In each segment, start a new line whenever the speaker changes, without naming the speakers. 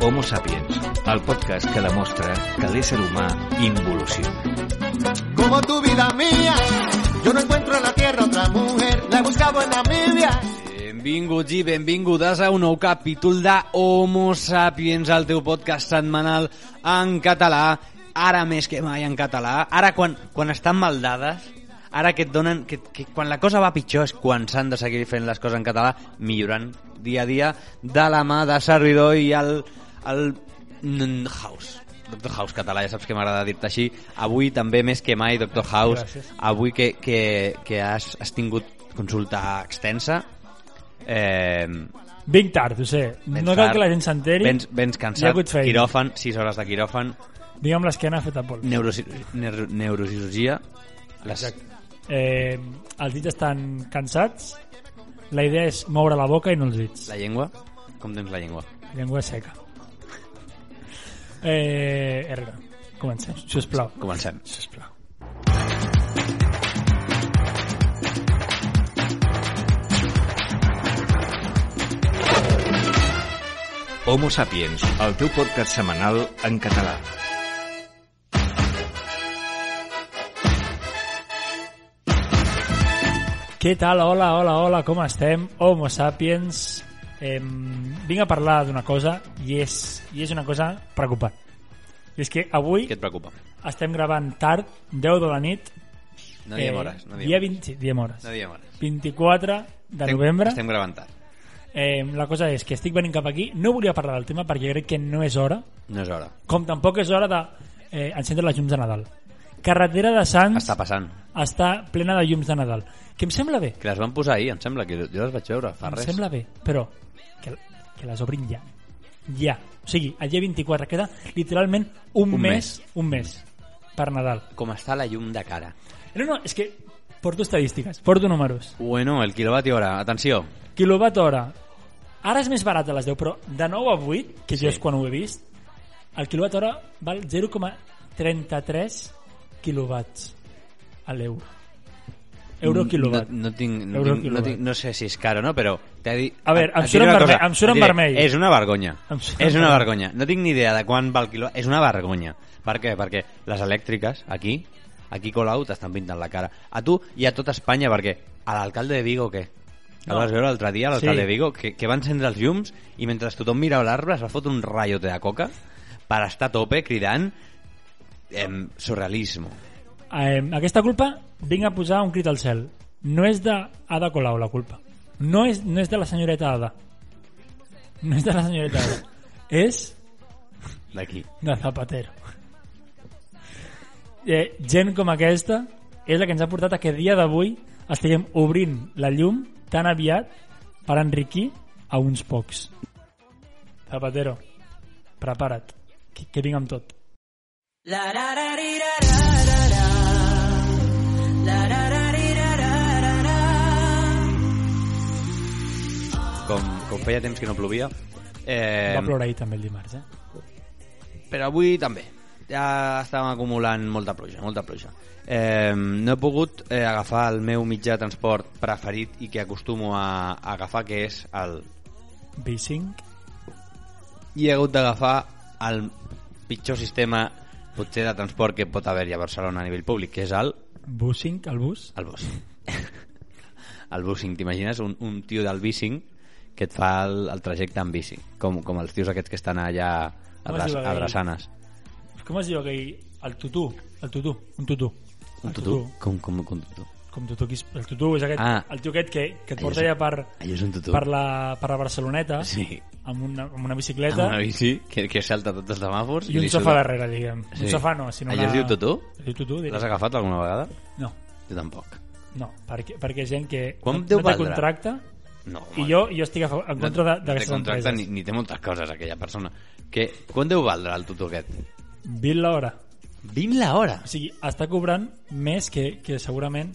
Homo Sapiens, el podcast que demostra que l'ésser humà involuciona.
Como tu vida mía, yo no encuentro en la tierra otra mujer, la he buscado en Namibia.
Benvinguts i benvingudes a un nou capítol de Homo Sapiens, el teu podcast setmanal en català, ara més que mai en català, ara quan, quan estan mal dades, ara que et donen, que, que quan la cosa va pitjor és quan s'han de seguir fent les coses en català, millorant dia a dia, de la mà de servidor i el, el mm, House. Doctor House català, ja saps que m'agrada dir-te així. Avui també més que mai, Doctor House, avui que, que, que has, has tingut consulta extensa, Eh,
Vinc tard, ho sé.
vens
no cal
fart,
que la gent s'enteri.
Vens, vens
Ja
cansat,
good faith.
quiròfan, 6 hores de quiròfan,
Digue'm l'esquena feta pols.
neuroci neuro neurocirurgia, les...
Eh, els dits estan cansats. La idea és moure la boca i no els dits.
la llengua, com tens la llengua?
La llengua és seca. Eh, Herrera, comencem, sisplau.
Comencem.
Sisplau.
Homo Sapiens, el teu podcast setmanal en català.
Què tal? Hola, hola, hola, com estem? Homo sapiens. Eh, vinc a parlar d'una cosa i és, i és una cosa preocupant. I és que avui
Què et preocupa?
estem gravant tard, 10 de la nit. Eh,
No diem hores, no diem,
dia
hores.
20, sí, diem hores.
no diem hores.
24 de
Estem-
novembre.
Estem gravant tard.
Eh, la cosa és que estic venint cap aquí. No volia parlar del tema perquè crec que no és hora,
No és hora.
com tampoc és hora de eh, encendre les llums de Nadal. Carretera de Sants
Està passant.
està plena de llums de Nadal, que em sembla bé.
Que les van posar ahir, em sembla, que jo les vaig veure fa
em
res.
sembla bé, però que, que les obrin ja. Ja. O sigui, el dia 24 queda literalment un,
Un
mes, un mes per Nadal. Eh,
Com està la llum de cara.
No, no, és que porto estadístiques, porto números.
Bueno, el quilovatio hora, atenció.
Kilowatt hora. Ara és més barat a les 10, però de 9 a 8, que
Sí.
jo és quan ho he vist, el kilowatt hora val 0,33 quilowatts a l'euro. Euro kilowatt.
Mm, No, no, tinc, no,
Euro
tinc, no,
kilowatt.
tinc, no sé si és caro, no? Però t'he dit...
A veure, em
et
surt
diré
en
una
vermell,
cosa,
em
et
surt en
diré,
vermell.
És una vergonya.
Em surt en
És una
vermell.
vergonya. No tinc ni idea de quan val el quilo... És una vergonya. Per què? Perquè les elèctriques, aquí, aquí a Colau, t'estan pintant la cara. A tu i a tot Espanya, perquè a l'alcalde de Vigo, què? El
No.
vas veure l'altre dia, l'alcalde
Sí.
de Vigo, que, que van encendre els llums i mentre tothom mirava l'arbre es va fotre un rayote de coca per estar a tope cridant em, surrealismo.
Eh, aquesta culpa vinc a posar un crit al cel. No és de Ada Colau la culpa. No és, no és de la senyoreta Ada. No és de la senyoreta Ada. és
D'aquí.
de Zapatero. Eh, gent com aquesta és la que ens ha portat a que dia d'avui estiguem obrint la llum tan aviat per enriquir a uns pocs. Zapatero, prepara't, que, que vinc amb tot.
com, com feia temps que no plovia eh,
Va plorar ahir també el dimarts, eh?
però avui també ja estàvem acumulant molta pluja, molta pluja. Eh, no he pogut eh, agafar el meu mitjà de transport preferit i que acostumo a, a agafar, que és el...
B5,
I he hagut d'agafar el pitjor sistema potser de transport que pot haver-hi a Barcelona a nivell públic, que és el
B5, el bus.
El bus. el busing, t'imagines? Un, un tio del bicing que et fa el, el trajecte en bici, com, com els tios aquests que estan allà a,
Com es
Bras,
diu
a
aquell?
Drassanes.
Com es diu aquell... El tutú. El tutú. Un tutú.
Un
El
tutú? Com, com, com un tutú?
Com tutú. qui és- El tutú és aquest...
Ah.
El tio aquest que, que et
Allò
porta
és-
allà per,
Allò és un tutú.
per, la, per la Barceloneta
Sí.
amb, una, amb una
Amb
bicicleta
una bici que, que salta tots els semàfors.
i un
li
sofà
suda.
darrere, diguem.
Sí.
Un sofà no, sinó
Allò
una...
es diu tutú?
Es diu tutú, diré.
L'has agafat alguna vegada?
No,
Jo tampoc.
no, perquè, perquè gent que
Quan
no,
deu
no té
valdre?
contracte
No,
i
home,
jo, jo estic a, fa- en contra de-
no té
d'aquestes
contracte ni,
empreses.
ni té moltes coses aquella persona. Que, quan deu valdre el tutú aquest?
20 l'hora.
20 l'hora.
O sigui, està cobrant més que, que segurament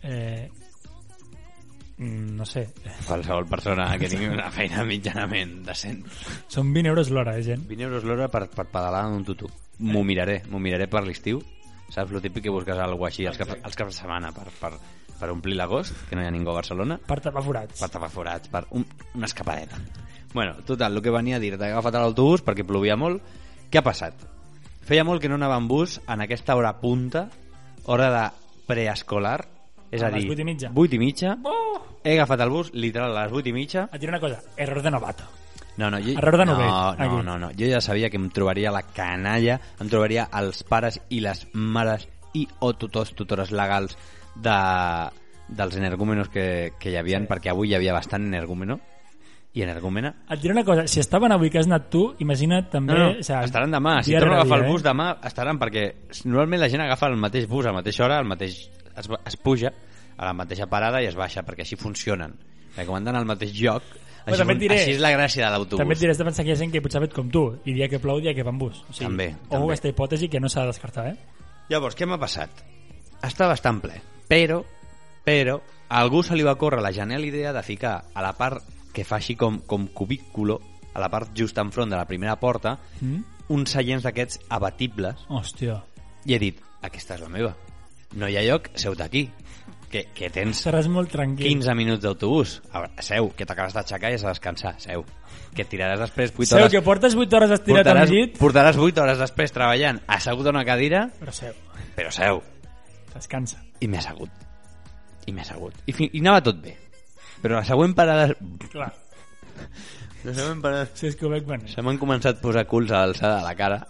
eh, mm, no sé,
Qualsevol persona que tingui una feina mitjanament decent.
són 20 euros l'hora, eh, gent?
20 euros l'hora per, per pedalar en un tutu. M'ho miraré, m'ho miraré per l'estiu. Saps, lo típic que busques alguna així els caps, els caps de setmana per, per, per omplir l'agost, que no hi ha ningú a Barcelona,
Per tapar forats.
per tapar forats, per un, una escapadeta. Bueno, total, el que venia a dir, t'he agafat a l'autobús perquè plovia molt. Què ha passat? Feia molt que no anava en bus en aquesta hora punta, hora de preescolar, és a,
A les
dir...
vuit i mitja.
8 i mitja.
Oh!
He agafat el bus, literal, a les 8 i mitja.
Et diré una cosa, error de novato.
No, no, jo...
Error de novell,
no, no,
aquí.
no, no, jo ja sabia que em trobaria la canalla, em trobaria els pares i les mares i o tutors, tutores legals de, dels energúmenos que, que hi havia, perquè avui hi havia bastant energúmeno i energúmena.
Et diré una cosa, si estaven avui que has anat tu, imagina't també...
No, no,
o sigui,
estaran demà. Si
dia
torno a
rere
agafar
dia,
el bus
eh?
demà, estaran, perquè normalment la gent agafa el mateix bus a la mateixa hora, el mateix, es, es puja a la mateixa parada i es baixa, perquè així funcionen. Perquè com anden al mateix lloc,
Però
així,
també
fun-
et diré-
així és la gràcia de l'autobús.
També et diré, has de pensar que hi ha gent que potser ha fet com tu, i dia que plou, dia que va en bus. O sigui,
També,
ojo
també.
amb aquesta hipòtesi que no s'ha de descartar, eh?
Llavors, què m'ha passat? Està bastant ple, però, però, a algú se li va córrer la genial idea de ficar a la part que fa així com, com cubículo, a la part just enfront de la primera porta,
Mm?
uns seients d'aquests abatibles,
Hòstia,
i he dit, aquesta és la meva. No hi ha lloc, seu-te aquí. Que, que tens
seràs molt tranquil.
15 minuts d'autobús. A veure, Seu, que t'acabes d'aixecar i has de descansar. Seu, que et tiraràs després 8
Seu,
hores...
que portes 8 hores estirat
portaràs,
al llit,
portaràs 8 hores després treballant assegut a una cadira,
però seu,
però seu,
descansa.
i m'he assegut. I m'he assegut. I, fi, I anava tot bé. Però la següent parada...
Clar,
La següent parada...
si és que ho veig venir.
Se m'han començat a posar culs a l'alçada de la cara.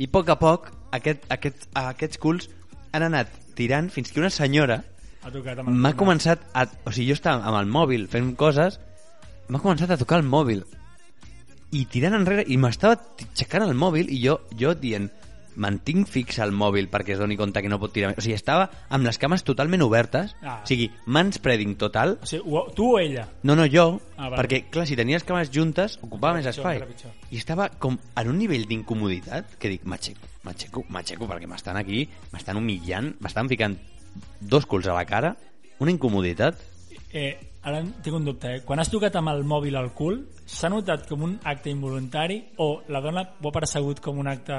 I a poc a poc, aquest, aquest, aquests culs han anat tirant fins que una senyora
Ha tocat amb el
m'ha
tema.
començat a... O sigui, jo estava amb el mòbil fent coses, m'ha començat a tocar el mòbil. I tirant enrere, i m'estava t- aixecant el mòbil, i jo, jo dient, mantinc fix el mòbil perquè es doni compte que no pot tirar més. O sigui, estava amb les cames totalment obertes,
Ah.
o sigui, manspreading total.
O sigui, o- tu o ella?
No, no, jo,
Ah, vale.
perquè, clar, si tenia les cames juntes, ocupava més
pitjor,
espai.
encara pitjor.
I estava com en un nivell d'incomoditat que dic, m'aixeco, m'aixeco, m'aixeco, perquè m'estan aquí, m'estan humillant, m'estan ficant dos culs a la cara, una incomoditat.
Eh, ara tinc un dubte, eh? Quan has tocat amb el mòbil al cul, s'ha notat com un acte involuntari o la dona ho ha percebut com un acte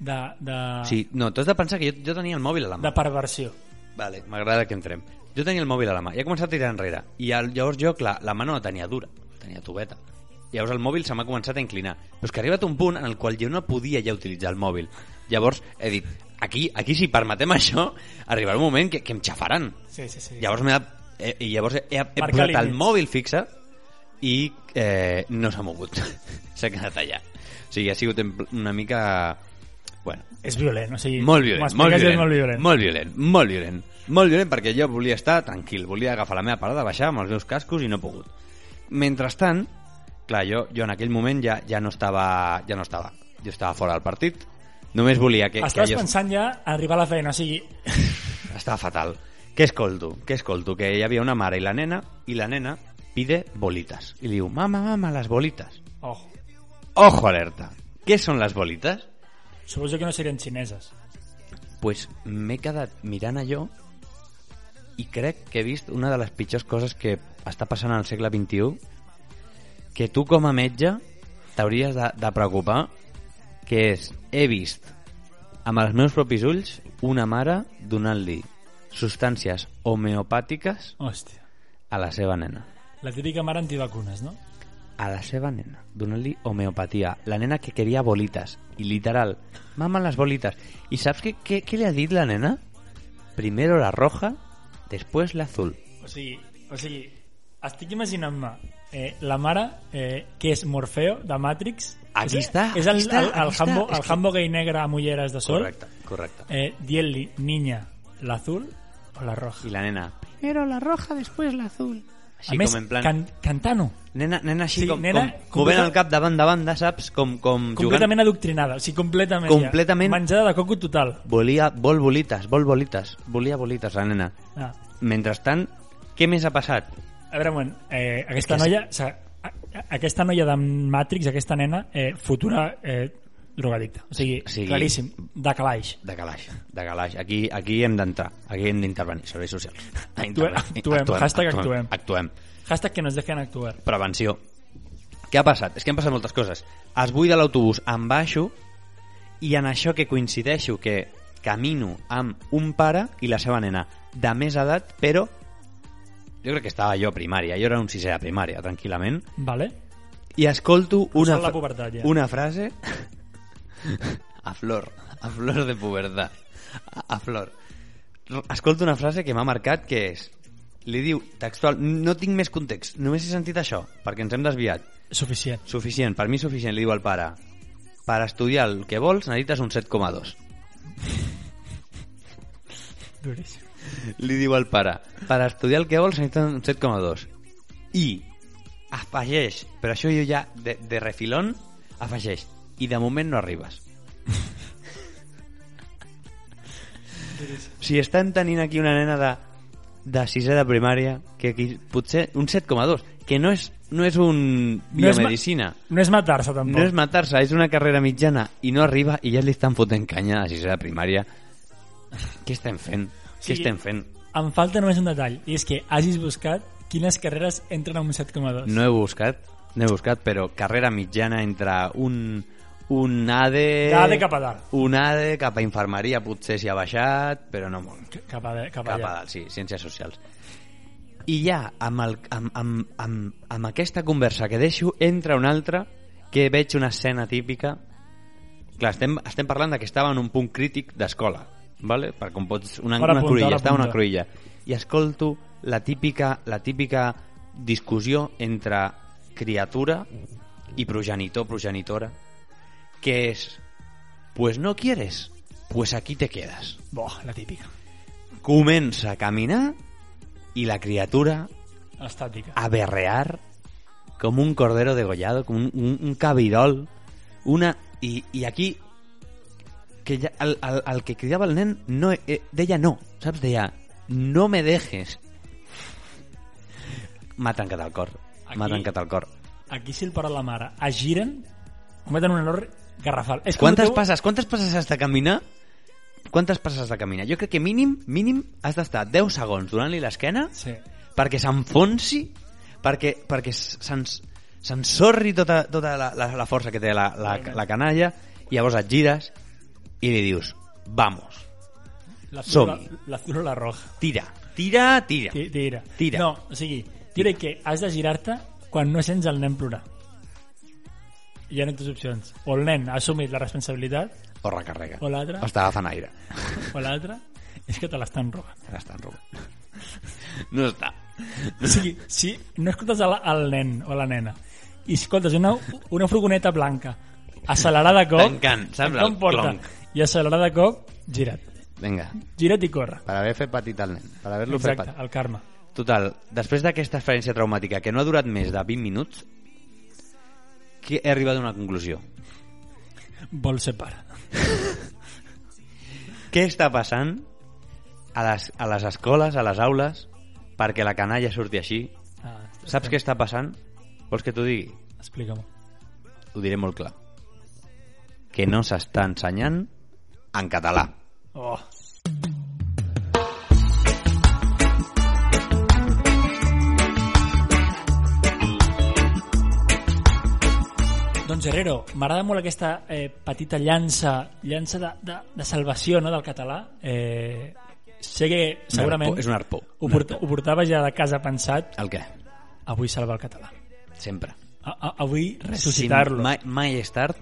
de, de,
O sigui, no, t'has de pensar que jo, jo tenia el mòbil a la mà.
de perversió?
Vale, m'agrada que entrem. Jo tenia el mòbil a la mà i ha començat a tirar enrere. I el, llavors jo, clar, la mà no la tenia dura, la tenia tubeta. Llavors el mòbil se m'ha començat a inclinar. Però és que ha arribat un punt en el qual jo no podia ja utilitzar el mòbil. Llavors he dit, aquí, aquí si permetem això, arribarà un moment que, que em xafaran.
Sí, sí, sí.
Llavors, m'he de, eh, i llavors he, he, he
Marcar
posat el
límits.
mòbil fixa i eh, no s'ha mogut. S'ha quedat allà. O sigui, ha sigut en pl- una mica... Bueno,
És violent, o sigui...
molt violent, molt
m'expliques i
violent,
és
molt
molt violent.
violent, molt violent, molt violent, perquè jo volia estar tranquil, volia agafar la meva parada, baixar amb els meus cascos i no he pogut. Mentrestant, clar, jo, jo en aquell moment ja, ja no estava, ja no estava, jo estava fora del partit, només volia que...
Estàs
que jo...
pensant ja a arribar a la feina, o sigui...
Estava fatal. Què escolto? Què escolto? Que hi havia una mare i la nena, i la nena pide bolitas. I diu, mama, mama, les bolitas.
Oh,
Ojo alerta. Què són les bolitas?
suposo que no serien xineses.
pues m'he quedat mirant allò i crec que he vist una de les pitjors coses que està passant al segle XXI que tu com a metge t'hauries de, de preocupar que és, he vist amb els meus propis ulls una mare donant-li substàncies homeopàtiques
Hòstia.
a la seva nena
La típica mare antivacunes, no?
a la seva nena, donant-li homeopatia. La nena que queria bolites, i literal, mama les bolites. I saps què, què, què li ha dit la nena? Primero la roja, després la azul.
O sigui, o sigui estic imaginant-me eh, la mare, eh, que és Morfeo, de Matrix.
Aquí
és,
està,
És el,
aquí està,
el, el,
aquí està.
Hambo,
És
el
que-
Hambo gay negre amb ulleres de sol.
correcte.
Eh, Dient-li, niña, l'azul o la roja?
I la nena,
Primero la roja, después la azul.
així
a més,
com en plan...
can, cantant-ho.
Nena, nena així
Sí,
com,
nena
com movent
completa-
el cap de banda a banda, saps? Com, com jugant...
Completament adoctrinada, o sigui, completament. ja.
Completament-
Menjada de coco total.
Volia, vol bolites, vol bolites, volia bolites la nena.
Ah.
Mentrestant, què més ha passat?
A veure, un moment, eh,
És
aquesta
que és-
noia... O sigui, a- a- aquesta noia de Matrix, aquesta nena, eh, futura eh, drogadicte. O sigui,
O sigui-
claríssim, de calaix.
De calaix, de calaix. Aquí, aquí hem d'entrar, aquí hem d'intervenir, serveis socials. A intervenir.
actuem, hashtag actuem.
Actuem.
Hashtag que nos dejen actuar.
Prevenció. Què ha passat? És que han passat moltes coses. Es buida l'autobús, em baixo i en això que coincideixo que camino amb un pare i la seva nena de més edat, però jo crec que estava jo a primària, jo era un sisè de primària, tranquil·lament,
Vale?
i escolto una,
Passant la pubertat, ja.
una frase a flor, a flor de pubertat, a, a flor. Escolto una frase que m'ha marcat que és li diu textual, no tinc més context, només he sentit això, perquè ens hem desviat.
Suficient.
Suficient, per mi suficient, li diu al pare. Per estudiar el que vols necessites un 7,2.
Duríssim.
Li diu al pare, per estudiar el que vols necessites un 7,2. I afegeix, però això jo ja de, de refilón, afegeix, i de moment no arribes. si estan tenint aquí una nena de, de sisè de primària, que aquí, potser un 7,2, que no és, no és un
No és ma-
biomedicina.
No és matar-se, tampoc.
No és matar-se, és una carrera mitjana i no arriba i ja li estan fotent canya a sisè de primària. Què estem fent?
Sí.
Què estem fent?
Em falta només un detall, i és que hagis buscat quines carreres entren a un 7,2.
No he buscat, no he buscat, però carrera mitjana entre un, un ADE...
D'ADE cap a dalt.
Un ADE cap a infermeria, potser s'hi ha baixat, però no molt.
C- Cap a, cap
Cap a
allà.
dalt, sí, ciències socials. I ja, amb, el, amb, amb, amb, amb aquesta conversa que deixo, entra una altra que veig una escena típica. Clar, estem, estem parlant de que estava en un punt crític d'escola, vale? per com pots... Una,
Hora
una
punta, hora
cruïlla, estava en una
punta.
cruïlla. I escolto la típica, la típica discussió entre criatura i progenitor, progenitora, que és, pues no quieres, pues aquí te quedas
Boh, la típica.
comença a caminar i la criatura
Estàtica.
a berrear com un cordero degollado, com un, un, un cabirol. Una... I, i aquí que ja, el, el, el que cridava el nen no, eh, deia no, saps? Deia no me dejes. M'ha trencat el cor. M'ha
Aquí-
trencat el cor.
Aquí si el pare i la mare es giren, cometen un error garrafal. És que
Quantes
no té-
passes, quantes passes has de caminar? Quantes passes has de caminar? Jo crec que mínim, mínim has d'estar 10 segons donant-li l'esquena
Sí.
perquè s'enfonsi, perquè, perquè s'ens- s'ensorri tota, tota la, la, la força que té la, la, la canalla, i llavors et gires i li dius, vamos,
La azul,
Som.
la, la, azul o la roja.
tira, tira, tira.
Ti- Tira.
Tira.
No, o sigui, tira, que has de girar-te quan no sents el nen plorar. Hi ha dues opcions. O el nen ha assumit la responsabilitat,
O recarrega.
O l'altra.
Està agafant aire.
o l'altra és que te l'estan robant.
Ara està en roba. No està.
O sigui, si no escoltes el, el nen o la nena i escoltes una, una furgoneta blanca acelerar de cop
Tancant, saps?
tancar un
El
porta,
clonc.
i accelerar de cop gira't,
Vinga,
gira't i corre
per haver fet petit el nen, per haver-lo fet
exacte,
petit.
el karma
Total, després d'aquesta experiència traumàtica que no ha durat més de 20 minuts, que he arribat a una conclusió.
vol ser pare
Què està passant a les, a les escoles, a les aules, perquè la canalla surti així?
ah,
Saps què està passant? Vols que t'ho digui?
explica-m'ho
Ho diré molt clar. Que no s'està ensenyant en català.
oh. Doncs Herrero, m'agrada molt aquesta eh, petita llança, llança de, de, de salvació no, del català. Eh, sé que segurament
És un arpó.
ho, porta, ho portava ja de casa pensat,
El què?
avui salvar el català.
Sempre.
A, a, avui ressuscitar-lo.
Sin- Mai, mai és tard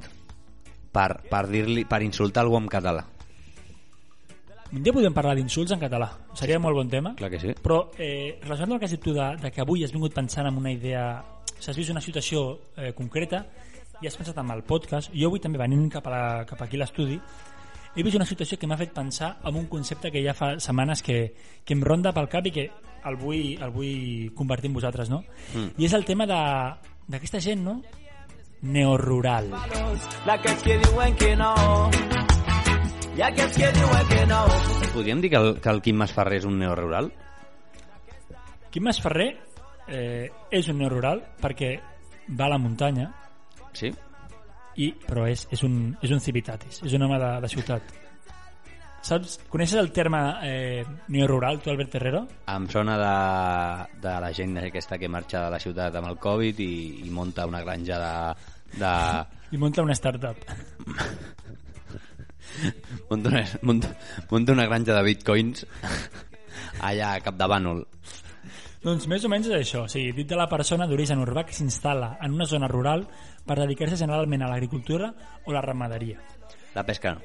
per, per, dir-li per insultar algú en català.
Un dia podem parlar d'insults en català. Seria molt bon tema.
Clar que sí.
Però eh, relacionat amb el que has dit tu de, de que avui has vingut pensant en una idea... O sigui, has vist una situació eh, concreta i has pensat en el podcast. Jo avui també venint cap, a la, cap aquí a l'estudi he vist una situació que m'ha fet pensar en un concepte que ja fa setmanes que, que em ronda pel cap i que el vull, el vull compartir amb vosaltres, no? Mm. I és el tema de- d'aquesta gent, no? Neorural.
Podríem dir que el, que el Quim Masferrer és un neorural?
Quim Masferrer eh, és un neorural perquè va a la muntanya,
Sí?
I, però és, és, un, és un civitatis, és un home de, de ciutat. Saps? Coneixes el terme eh, neorural, tu, Albert Herrero?
Em sona de, de la gent aquesta que marxa de la ciutat amb el Covid i, i monta una granja de... de
I munta una startup.
monta, una, monta, monta una granja de bitcoins allà a Capdavànol.
Doncs més o menys és això, o sigui, dit de la persona d'origen urbà que s'instal·la en una zona rural per dedicar-se generalment a l'agricultura o la ramaderia.
La pesca no.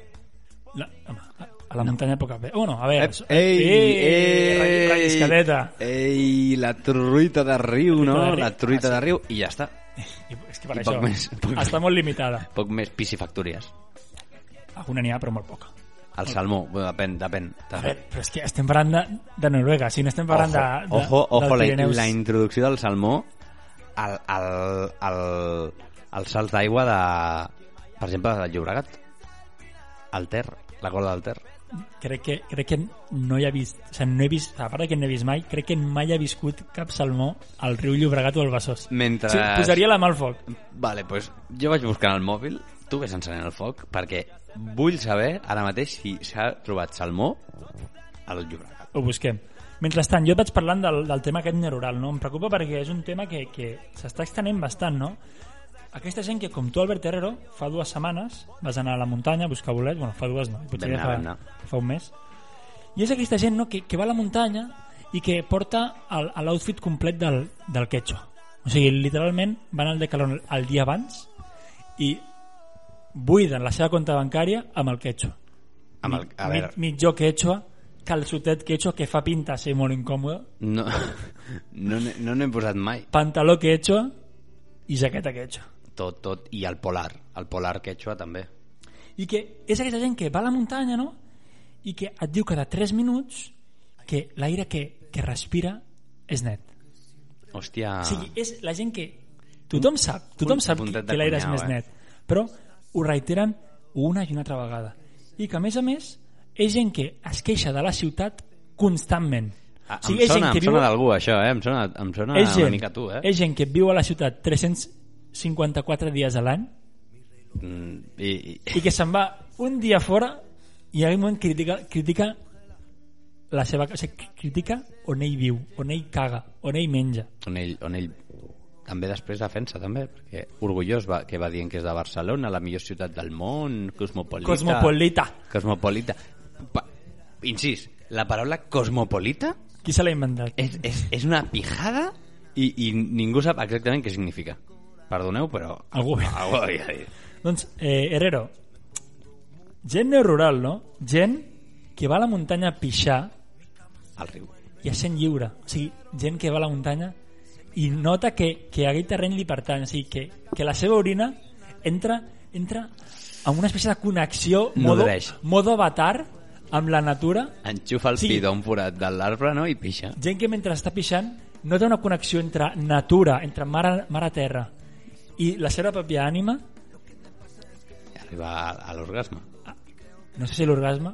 La, home, a, a la muntanya poca ve. Bueno, a veure... so-
Eh, ei,
relliscadeta.
ei, la truita de riu, Ah, no?
de riu.
La truita de riu i ja està.
I, és que per
I
això
poc més, poc
està molt limitada.
Poc més piscifactúries.
Alguna n'hi ha, però molt poca.
El salmó, bueno, depèn, depèn.
A veure, però és que estem parlant de, de Noruega, si no estem parlant de, de,
ojo, ojo,
del
la,
Pirineus.
la introducció del salmó al, al, al, al salt d'aigua de, per exemple, del Llobregat al Ter, la gola del Ter
crec que, crec que no hi ha vist, o sigui, no he vist, a part de que no he vist mai, crec que mai ha viscut cap salmó al riu Llobregat o al Besòs.
mentre...
Sí, posaria la mà al foc.
Vale, pues, jo vaig buscant el mòbil tu vés encenent el foc perquè vull saber ara mateix si s'ha trobat salmó al Llobregat
Ho busquem. Mentrestant, jo et vaig parlant del, del tema aquest neural, no? Em preocupa perquè és un tema que, que s'està extenent bastant, no? Aquesta gent que, com tu, Albert Herrero, fa dues setmanes vas anar a la muntanya a buscar bolets, bueno, fa dues no, potser
Vam
ja
anar, vam
fa, fa un mes, i és aquesta gent no, que, que va a la muntanya i que porta el- a l'outfit complet del, del quechua. O sigui, literalment van al decalón el dia abans i buiden la seva compta bancària amb el quechua
amb el, a veure,
mitjó quechua, calçotet quechua que fa pinta ser molt incòmode,
no no n'he- no n'he posat mai
pantaló quechua i jaqueta quechua.
tot, tot, i el polar el polar quechua també
I que és aquesta gent que va a la muntanya, no? I que et diu cada 3 minuts que l'aire que, que respira és net.
hòstia
O sigui, és la gent que... Tothom sap, tothom
Punt-
sap que,
Ah. puntet de
que l'aire és
cunyau,
més
eh?
net, però ho reiteren una i una altra vegada. I que, a més a més, és gent que es queixa de la ciutat constantment.
Ah,
O sigui,
em
és gent
sona,
que
em
viu-
sona d'algú, això, eh? Em sona, em sona
és gent,
una mica a tu, eh?
És gent que viu a la ciutat 354 dies a l'any
Mm, I, i,
i que se'n va un dia fora i en un moment critica, critica la seva... O sigui, critica on ell viu, on ell caga, on ell menja.
on, ell, on ell també després defensa, també, perquè orgullós va, que va dient que és de Barcelona, la millor ciutat del món, cosmopolita...
Cosmopolita.
Cosmopolita. Pa, incís, la paraula cosmopolita
Qui se l'ha inventat?
és, és, és una pijada i, i ningú sap exactament què significa. Perdoneu, però...
Algú.
Algú havia dit.
Doncs, eh, Herrero, gent neorural, no? Gent que va a la muntanya a pixar
Al riu.
i es sent lliure. O sigui, gent que va a la muntanya i nota que, que aquell terreny li pertany. O sigui, que, que la seva orina entra, entra en una espècie de connexió modo,
Nodreix.
modo avatar amb la natura.
Enxufa el
Sí.
sí. pit a un forat de l'arbre, no?, i pixa.
Gent que mentre està pixant nota una connexió entre natura, entre mare, mare terra i la seva pròpia ànima,
I arriba a, a l'orgasme.
no sé si l'orgasme,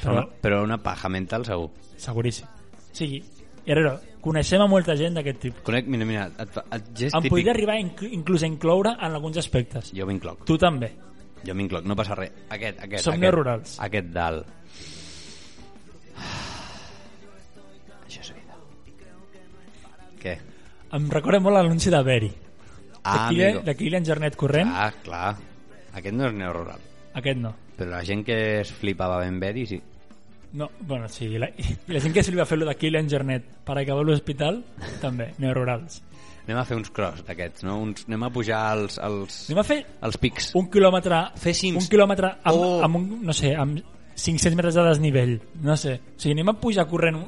Però,
però
però una paja mental segur.
seguríssim. O sigui, Herrero, coneixem a molta gent d'aquest tipus.
Conec, mira, mira, et, fa- et gest
Em
típic.
podria arribar a incl inclús a incloure en alguns aspectes.
Jo m'incloc,
Tu també.
jo m'incloc, no passa res. Aquest, aquest,
Som
aquest,
neorurals.
aquest dalt. Això és vida. Què?
Em recorda molt l'anunci de Beri.
Ah,
D'aquí
amigo.
d'aquí l'engernet corrent,
Ah, clar. Aquest no és neorural.
aquest no.
Però la gent que es flipava ben bé, sí.
No, bueno, sí, la, i la gent que se li va fer-lo d'aquí l'engernet per acabar a l'hospital, també, neorurals.
Anem a fer uns cross d'aquests, no? Uns, anem a pujar als, als,
Anem a fer
als pics.
un quilòmetre...
Fer cims.
Un quilòmetre amb,
Oh.
oh. amb un, no sé, amb 500 metres de desnivell. No sé. O sigui, anem a pujar corrent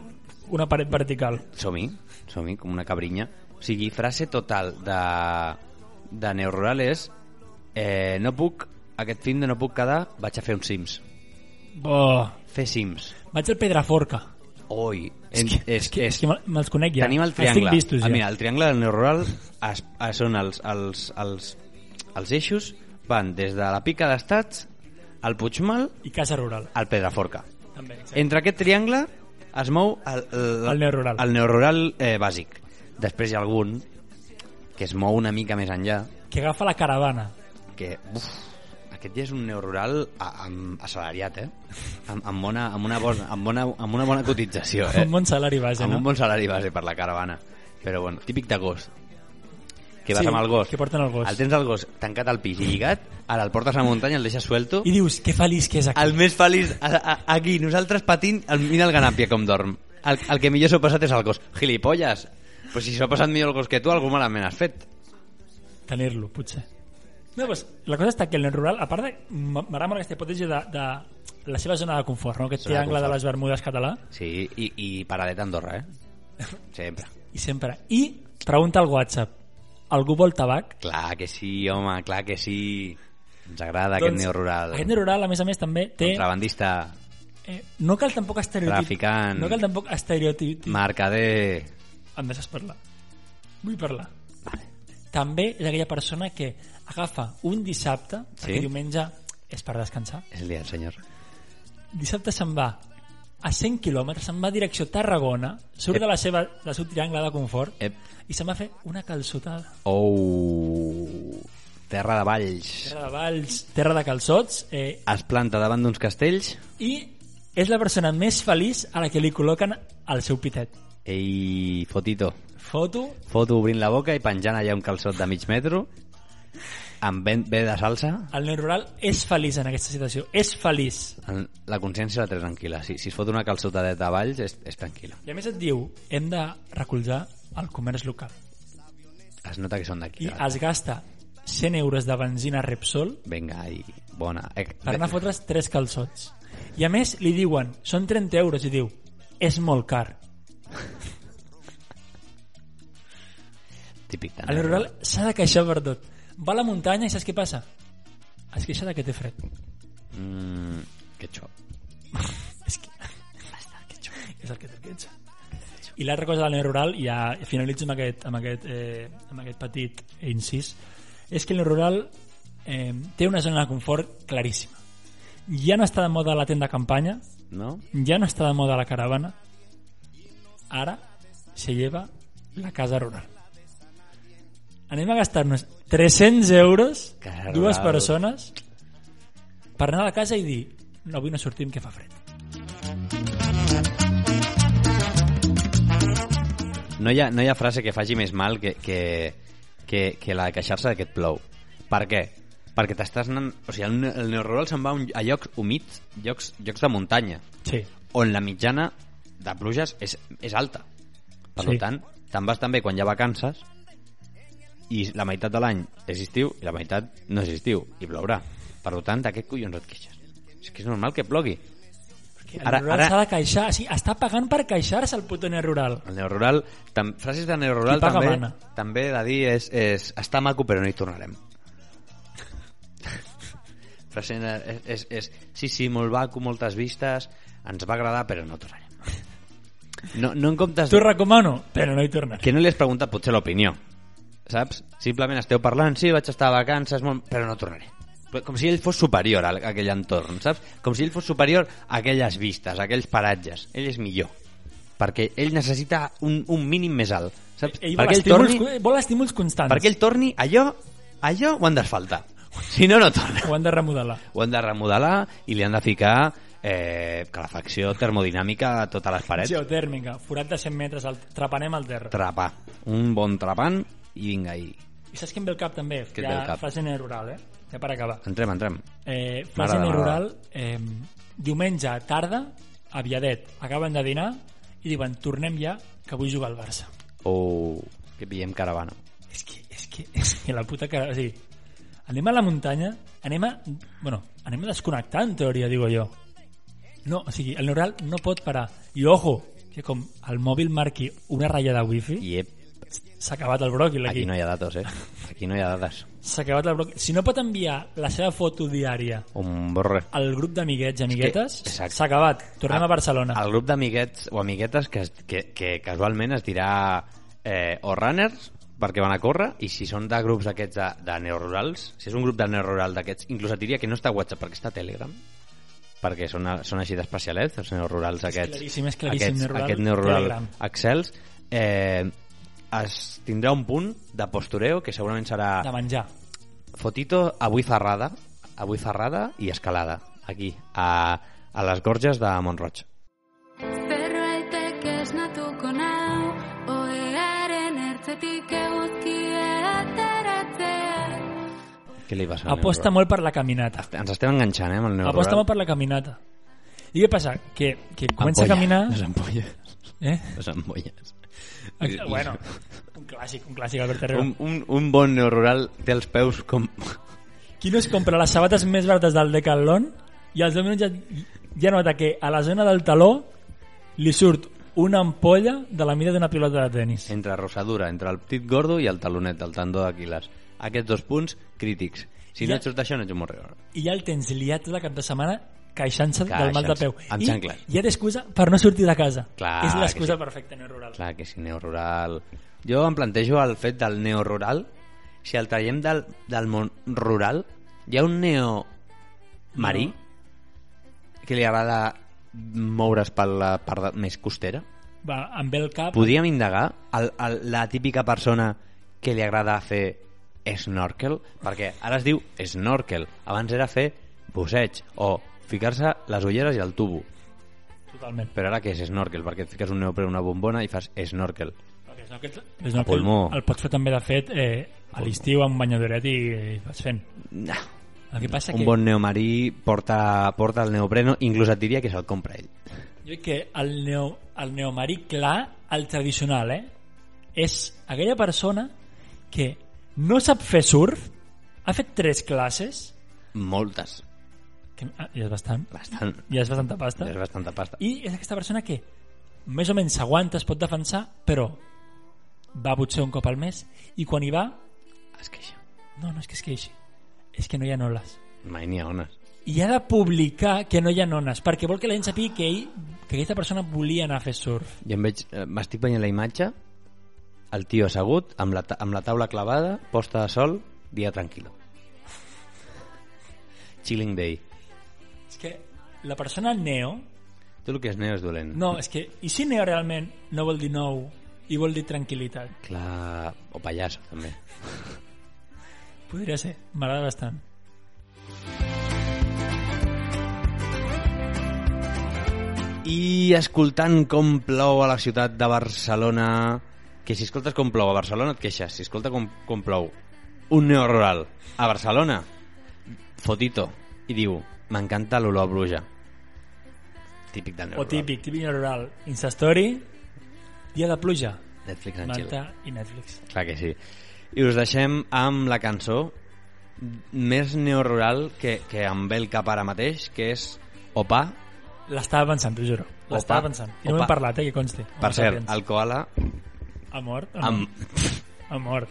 una paret vertical.
Som-hi, som-hi, com una cabrinya. O sigui, frase total de, de neorural és eh, no puc, aquest fin de no puc quedar, vaig a fer uns sims.
Oh.
Fer sims.
Vaig al Pedraforca.
Oi, en, és, és,
que, és que me- me'ls conec ja.
tenim el
Els tinc
triangle.
vistos, ja.
ah, mira, el triangle del neorural es, es, són els, els, els, els eixos van des de la pica d'estats al Puigmal
I casa rural,
al Pedraforca.
també. Exacte.
Entre aquest triangle es mou el, el,
El neorural.
el neorural eh, bàsic. Després hi ha algun que es mou una mica més enllà,
Que agafa la caravana.
perquè uf, aquest ja és un neorural a- amb assalariat, eh? Amb, amb, bona, amb, una bona, amb, bona, amb una bona cotització, eh?
Un bon salari base,
amb
no?
un bon salari base per la caravana. Però bueno, típic de gos. Que vas
Sí,
amb el gos.
que porten el gos.
El tens el gos tancat al pis i lligat, ara el portes a la muntanya, el deixes suelto...
I dius, que feliç que és aquí.
El més feliç, a, a, aquí, nosaltres patint, el, mira el ganàpia com dorm. El, el que millor s'ho ha passat és el gos. Gilipolles! Però si s'ho ha passat millor el gos que tu, algú malament has fet.
Tenir-lo, potser. No, doncs, la cosa està que el nen rural, a part de... M'agrada molt aquesta hipòtesi de, de la seva zona de confort, no? aquest
Zona de
triangle de,
confort.
les Bermudes català,
Sí, i, i paradet a Andorra, eh? Sempre.
i sempre. I pregunta al WhatsApp, algú vol tabac?
Clar que sí, home, clar que sí. Ens agrada doncs, aquest neorural.
Aquest neo rural, a més a més, també té...
Contrabandista,
Eh, no cal tampoc estereotip...
Traficant.
No cal tampoc estereotip...
mercader...
Em deixes parlar. Vull parlar. També és aquella persona que agafa un dissabte,
Sí?
sí? perquè diumenge és per descansar,
És el dia del senyor.
dissabte se'n va a 100 quilòmetres, se'n va a direcció Tarragona, surt
Ep.
de la seva, del seu triangle de confort
Ep.
i se'n va a fer una calçotada.
Oh, terra de valls.
Terra de valls, terra de calçots, eh,
Es planta davant d'uns castells
i és la persona més feliç a la que li col·loquen el seu pitet.
i fotito.
Foto,
Foto obrint la boca i penjant allà un calçot de mig metro amb ben, bé de salsa.
el nen rural és feliç en aquesta situació, és feliç.
En- La consciència la té tranquil·la. Si, si es fot una calçotadeta a valls, és, és tranquil·la.
I a més et diu, hem de recolzar el comerç local.
Es nota que són d'aquí.
I es gasta 100 euros de benzina Repsol
Vinga, i bona. Eh,
per anar a fotre's 3 calçots. I a més li diuen, són 30 euros, i diu, és molt car.
Típic eh?
El
tan.
rural s'ha de queixar per tot. Va a la muntanya i saps què passa? Es queixa de que té fred.
Mm, que xop.
És que... És el que té el queixa. I l'altra cosa del nen rural, i ja finalitzo amb aquest, amb aquest, eh, amb aquest petit incís, és que el nen rural eh, té una zona de confort claríssima. Ja no està de moda la tenda de campanya,
No?
ja no està de moda la caravana, ara se lleva la casa rural. Anem a gastar-nos 300 euros,
Casa
dues
rural.
persones, per anar a la casa i dir no, avui no sortim, que fa fred.
No hi, ha, no hi ha frase que faci més mal que, que, que, que la de queixar-se de que et plou. Per què? Perquè t'estàs anant... O sigui, el, ne- el neorural se'n va a, un, a llocs humits, llocs, llocs de muntanya,
Sí.
on la mitjana de pluges és, és alta. Per
Sí.
tant, te'n vas també quan hi ha vacances i la meitat de l'any és estiu i la meitat no és estiu i plourà. Per tant, de què collons et queixes? És que és normal que plogui.
El
Ara-
ara, rural
ara-
s'ha de queixar, sí, està pagant per queixar-se el puto nen rural.
El neorural, tam, frases de neorural
Qui paga
també,
mana.
també he de dir és, és està maco però no hi tornarem. Frase de- és, és, és, sí, sí, molt maco, moltes vistes, ens va agradar però no tornarem. No, no en comptes
T'ho
de,
recomano, però no hi tornaré.
que no li has preguntat potser l'opinió, saps? Simplement esteu parlant, sí, vaig estar a vacances, molt, però no tornaré. Però Com si ell fos superior a aquell entorn, saps? Com si ell fos superior a aquelles vistes, a aquells paratges. Ell és millor. Perquè ell necessita un, un mínim més alt, saps?
Ell vol
perquè, ell
estímuls,
torni,
vol estímuls constants.
perquè ell torni, allò, allò ho han d'asfaltar. Si no, no torna.
Ho han de remodelar.
Ho han de remodelar i li han de ficar eh, calefacció termodinàmica a totes les parets.
Geotèrmica, forat de 100 metres, el, trepanem al terra.
Trapar. Un bon trapant i vinga, i
I saps què em ve el cap també?
Què et ve el cap?
Frase en el rural, eh? Ja per acabar.
entrem, entrem.
Eh, frase
M'agrada,
en el
m'agrada.
rural, eh, diumenge tarda, a Viadet, acaben de dinar i diuen tornem ja, que vull jugar al Barça.
o que pillem caravana.
És que, és que, és que la puta cara... O sigui, anem a la muntanya, anem a... Bueno, anem a desconnectar, en teoria, digo jo. No, o sigui, el neural no pot parar. I ojo, que com el mòbil marqui una ratllada wifi,
I ep,
s'ha acabat el bròquil
aquí
aquí.
no hi ha datos, eh? Aquí no hi ha dades.
S'ha acabat el bròquil. Si no pot enviar la seva foto diària
Un borre.
al grup d'amiguets i amiguetes,
exacte. Ah,
s'ha acabat. Tornem a Barcelona.
El grup d'amiguets o amiguetes que, es- que, que casualment es dirà eh, o runners, perquè van a córrer, i si són de grups aquests de, de neorurals, si és un grup de neorural d'aquests, inclús et diria que no està a WhatsApp, perquè està a Telegram, perquè són, són així d'especialets, els neorurals aquests.
claríssim, és claríssim,
Aquests,
neorural,
aquest neorural
Telegram.
excels. Eh, es tindrà un punt de postureo que segurament serà
De menjar.
fotito avui ferrada, avui ferrada i escalada, aquí, a, a les gorges de Montroig.
Berro aiteke esnatuko nau Oearen ertzetik eguzki ateratzen
Què li passa? al neu
Aposta
Roig?
molt per la caminata.
Ens estem enganxant, eh, amb el neu
Aposta
rural.
molt per la caminata. I què passa? Que, que comença a
Ampolla.
caminar...
Les ampolles.
Eh?
Les ampolles.
Ex- Bueno, un clàssic, un clàssic, Albert Herrero.
Un, un, un bon neu rural té els peus com...
Qui no es compra les sabates més barates del Decathlon i als 10 minuts ja, ja nota que a la zona del taló li surt una ampolla de la mida d'una pilota de tennis.
Entre rosadura, entre el petit gordo i el talonet del tendó d'Aquiles. Aquests dos punts crítics. Si
Ja.
no et surt això, no ets un morreor.
I ja el tens liat de cap de setmana queixant-se del mal de
Queixant-se,
peu.
amb
I
xancles.
ja té excusa per no sortir de casa.
Clar
que és
que
l'excusa
sí.
perfecta en el rural.
Clar, que si neorural... Jo em plantejo el fet del neorural, si el traiem del, del món rural, hi ha un neo marí que li agrada moure's per la part de- més costera.
Va, em ve el cap...
Podríem indagar el, el, la típica persona que li agrada fer snorkel, perquè ara es diu snorkel, abans era fer busseig o ficar-se les ulleres i el tubo.
Totalment.
Però ara què és snorkel? Perquè et fiques un neoprè en una bombona i fas snorkel.
Perquè és no que, és no que el,
pulmó.
el pots fer també, de fet, eh, a l'estiu amb banyadoret i, i vas fent.
Nah.
El que passa
Un
que...
bon neomarí porta, porta el neopreno, inclús et diria que se'l compra ell.
Jo crec que el, neo, el neomarí clar, el tradicional, eh? És aquella persona que no sap fer surf, ha fet tres classes,
Moltes.
que ah, ja és bastant,
Bastant.
ja és bastanta pasta,
És bastanta pasta. I...
i és aquesta persona que més o menys s'aguanta, es pot defensar, però va potser un cop al mes, i quan hi va,
Es queixa.
no, no és que es queixi, és que no hi ha noles.
Mai n'hi ha ones.
I ha de publicar que no hi ha nones, perquè vol que la gent sàpiga que ell, que aquesta persona volia anar a fer surf.
Jo em veig... eh, M'estic veient la imatge, el tio assegut, amb la, ta amb la taula clavada, posta de sol, dia tranquil·lo. Chilling day.
És que la persona neo,
Tot el que és neo és dolent.
No, és que, i si neo realment no vol dir nou i vol dir tranquil·litat?
Clar... O pallasso, també.
Podria ser, m'agrada bastant.
I escoltant com plou a la ciutat de Barcelona... Que si escoltes com plou a Barcelona et queixes. Si escolta com, com plou un neorural a Barcelona, fotito, i diu m'encanta l'olor a bruja. Típic del
O
neorural.
típic, típic rural. Instastory, dia de pluja,
Netflix and chill.
Manta i Netflix.
Clar que sí. I us deixem amb la cançó més neorural que, que em ve el cap ara mateix, que és Opa.
L'estava pensant, t'ho juro. L'estava
Opa.
pensant. I no
Opa.
m'hem parlat, eh, que consti.
Per cert, el koala
Ha mort? Ha
amb...
mort. Ha mort.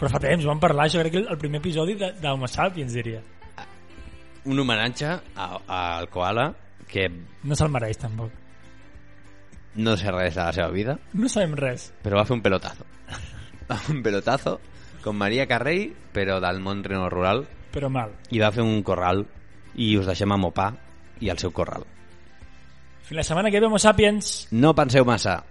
Però fa temps, vam parlar, jo crec que el primer episodi de- d'Homo Sapiens, diria.
un homenatge a- al koala que
No se'l mereix, tampoc.
no sé res de la seva vida,
No sabem res.
però va fer un pelotazo. Va fer un pelotazo con Maria Carrey, però del món reno rural,
Però mal.
i va fer un corral, i us deixem a Mopà i el seu corral.
Fins la setmana que ve, Homo Sapiens.
No penseu massa.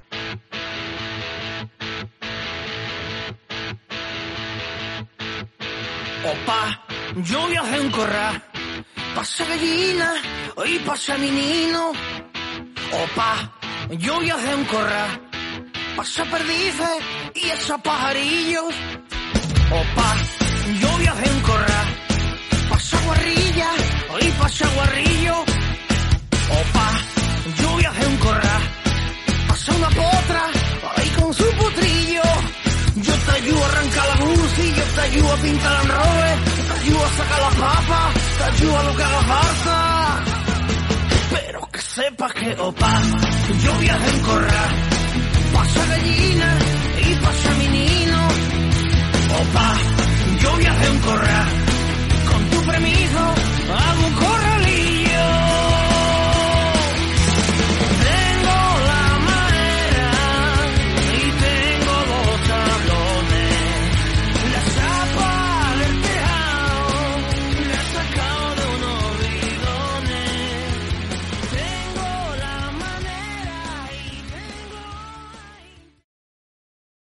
Opa, yo viajé en corral, pasa gallina, hoy pasa menino. Opa, yo viajé en corral, pasa perdices y esos pajarillos. Opa, yo viajé en corral, pasa guarrilla, hoy pasa guarrillo. Opa, yo viajé en corral, pasa una potra, hoy con su potrillo. Yo te ayudo a arrancar la UCI, yo te ayudo a pintar el robe, te ayudo a sacar las papas, te ayudo a lo que haga falta. Pero que sepas que opa, yo viaje en corral, pasa allí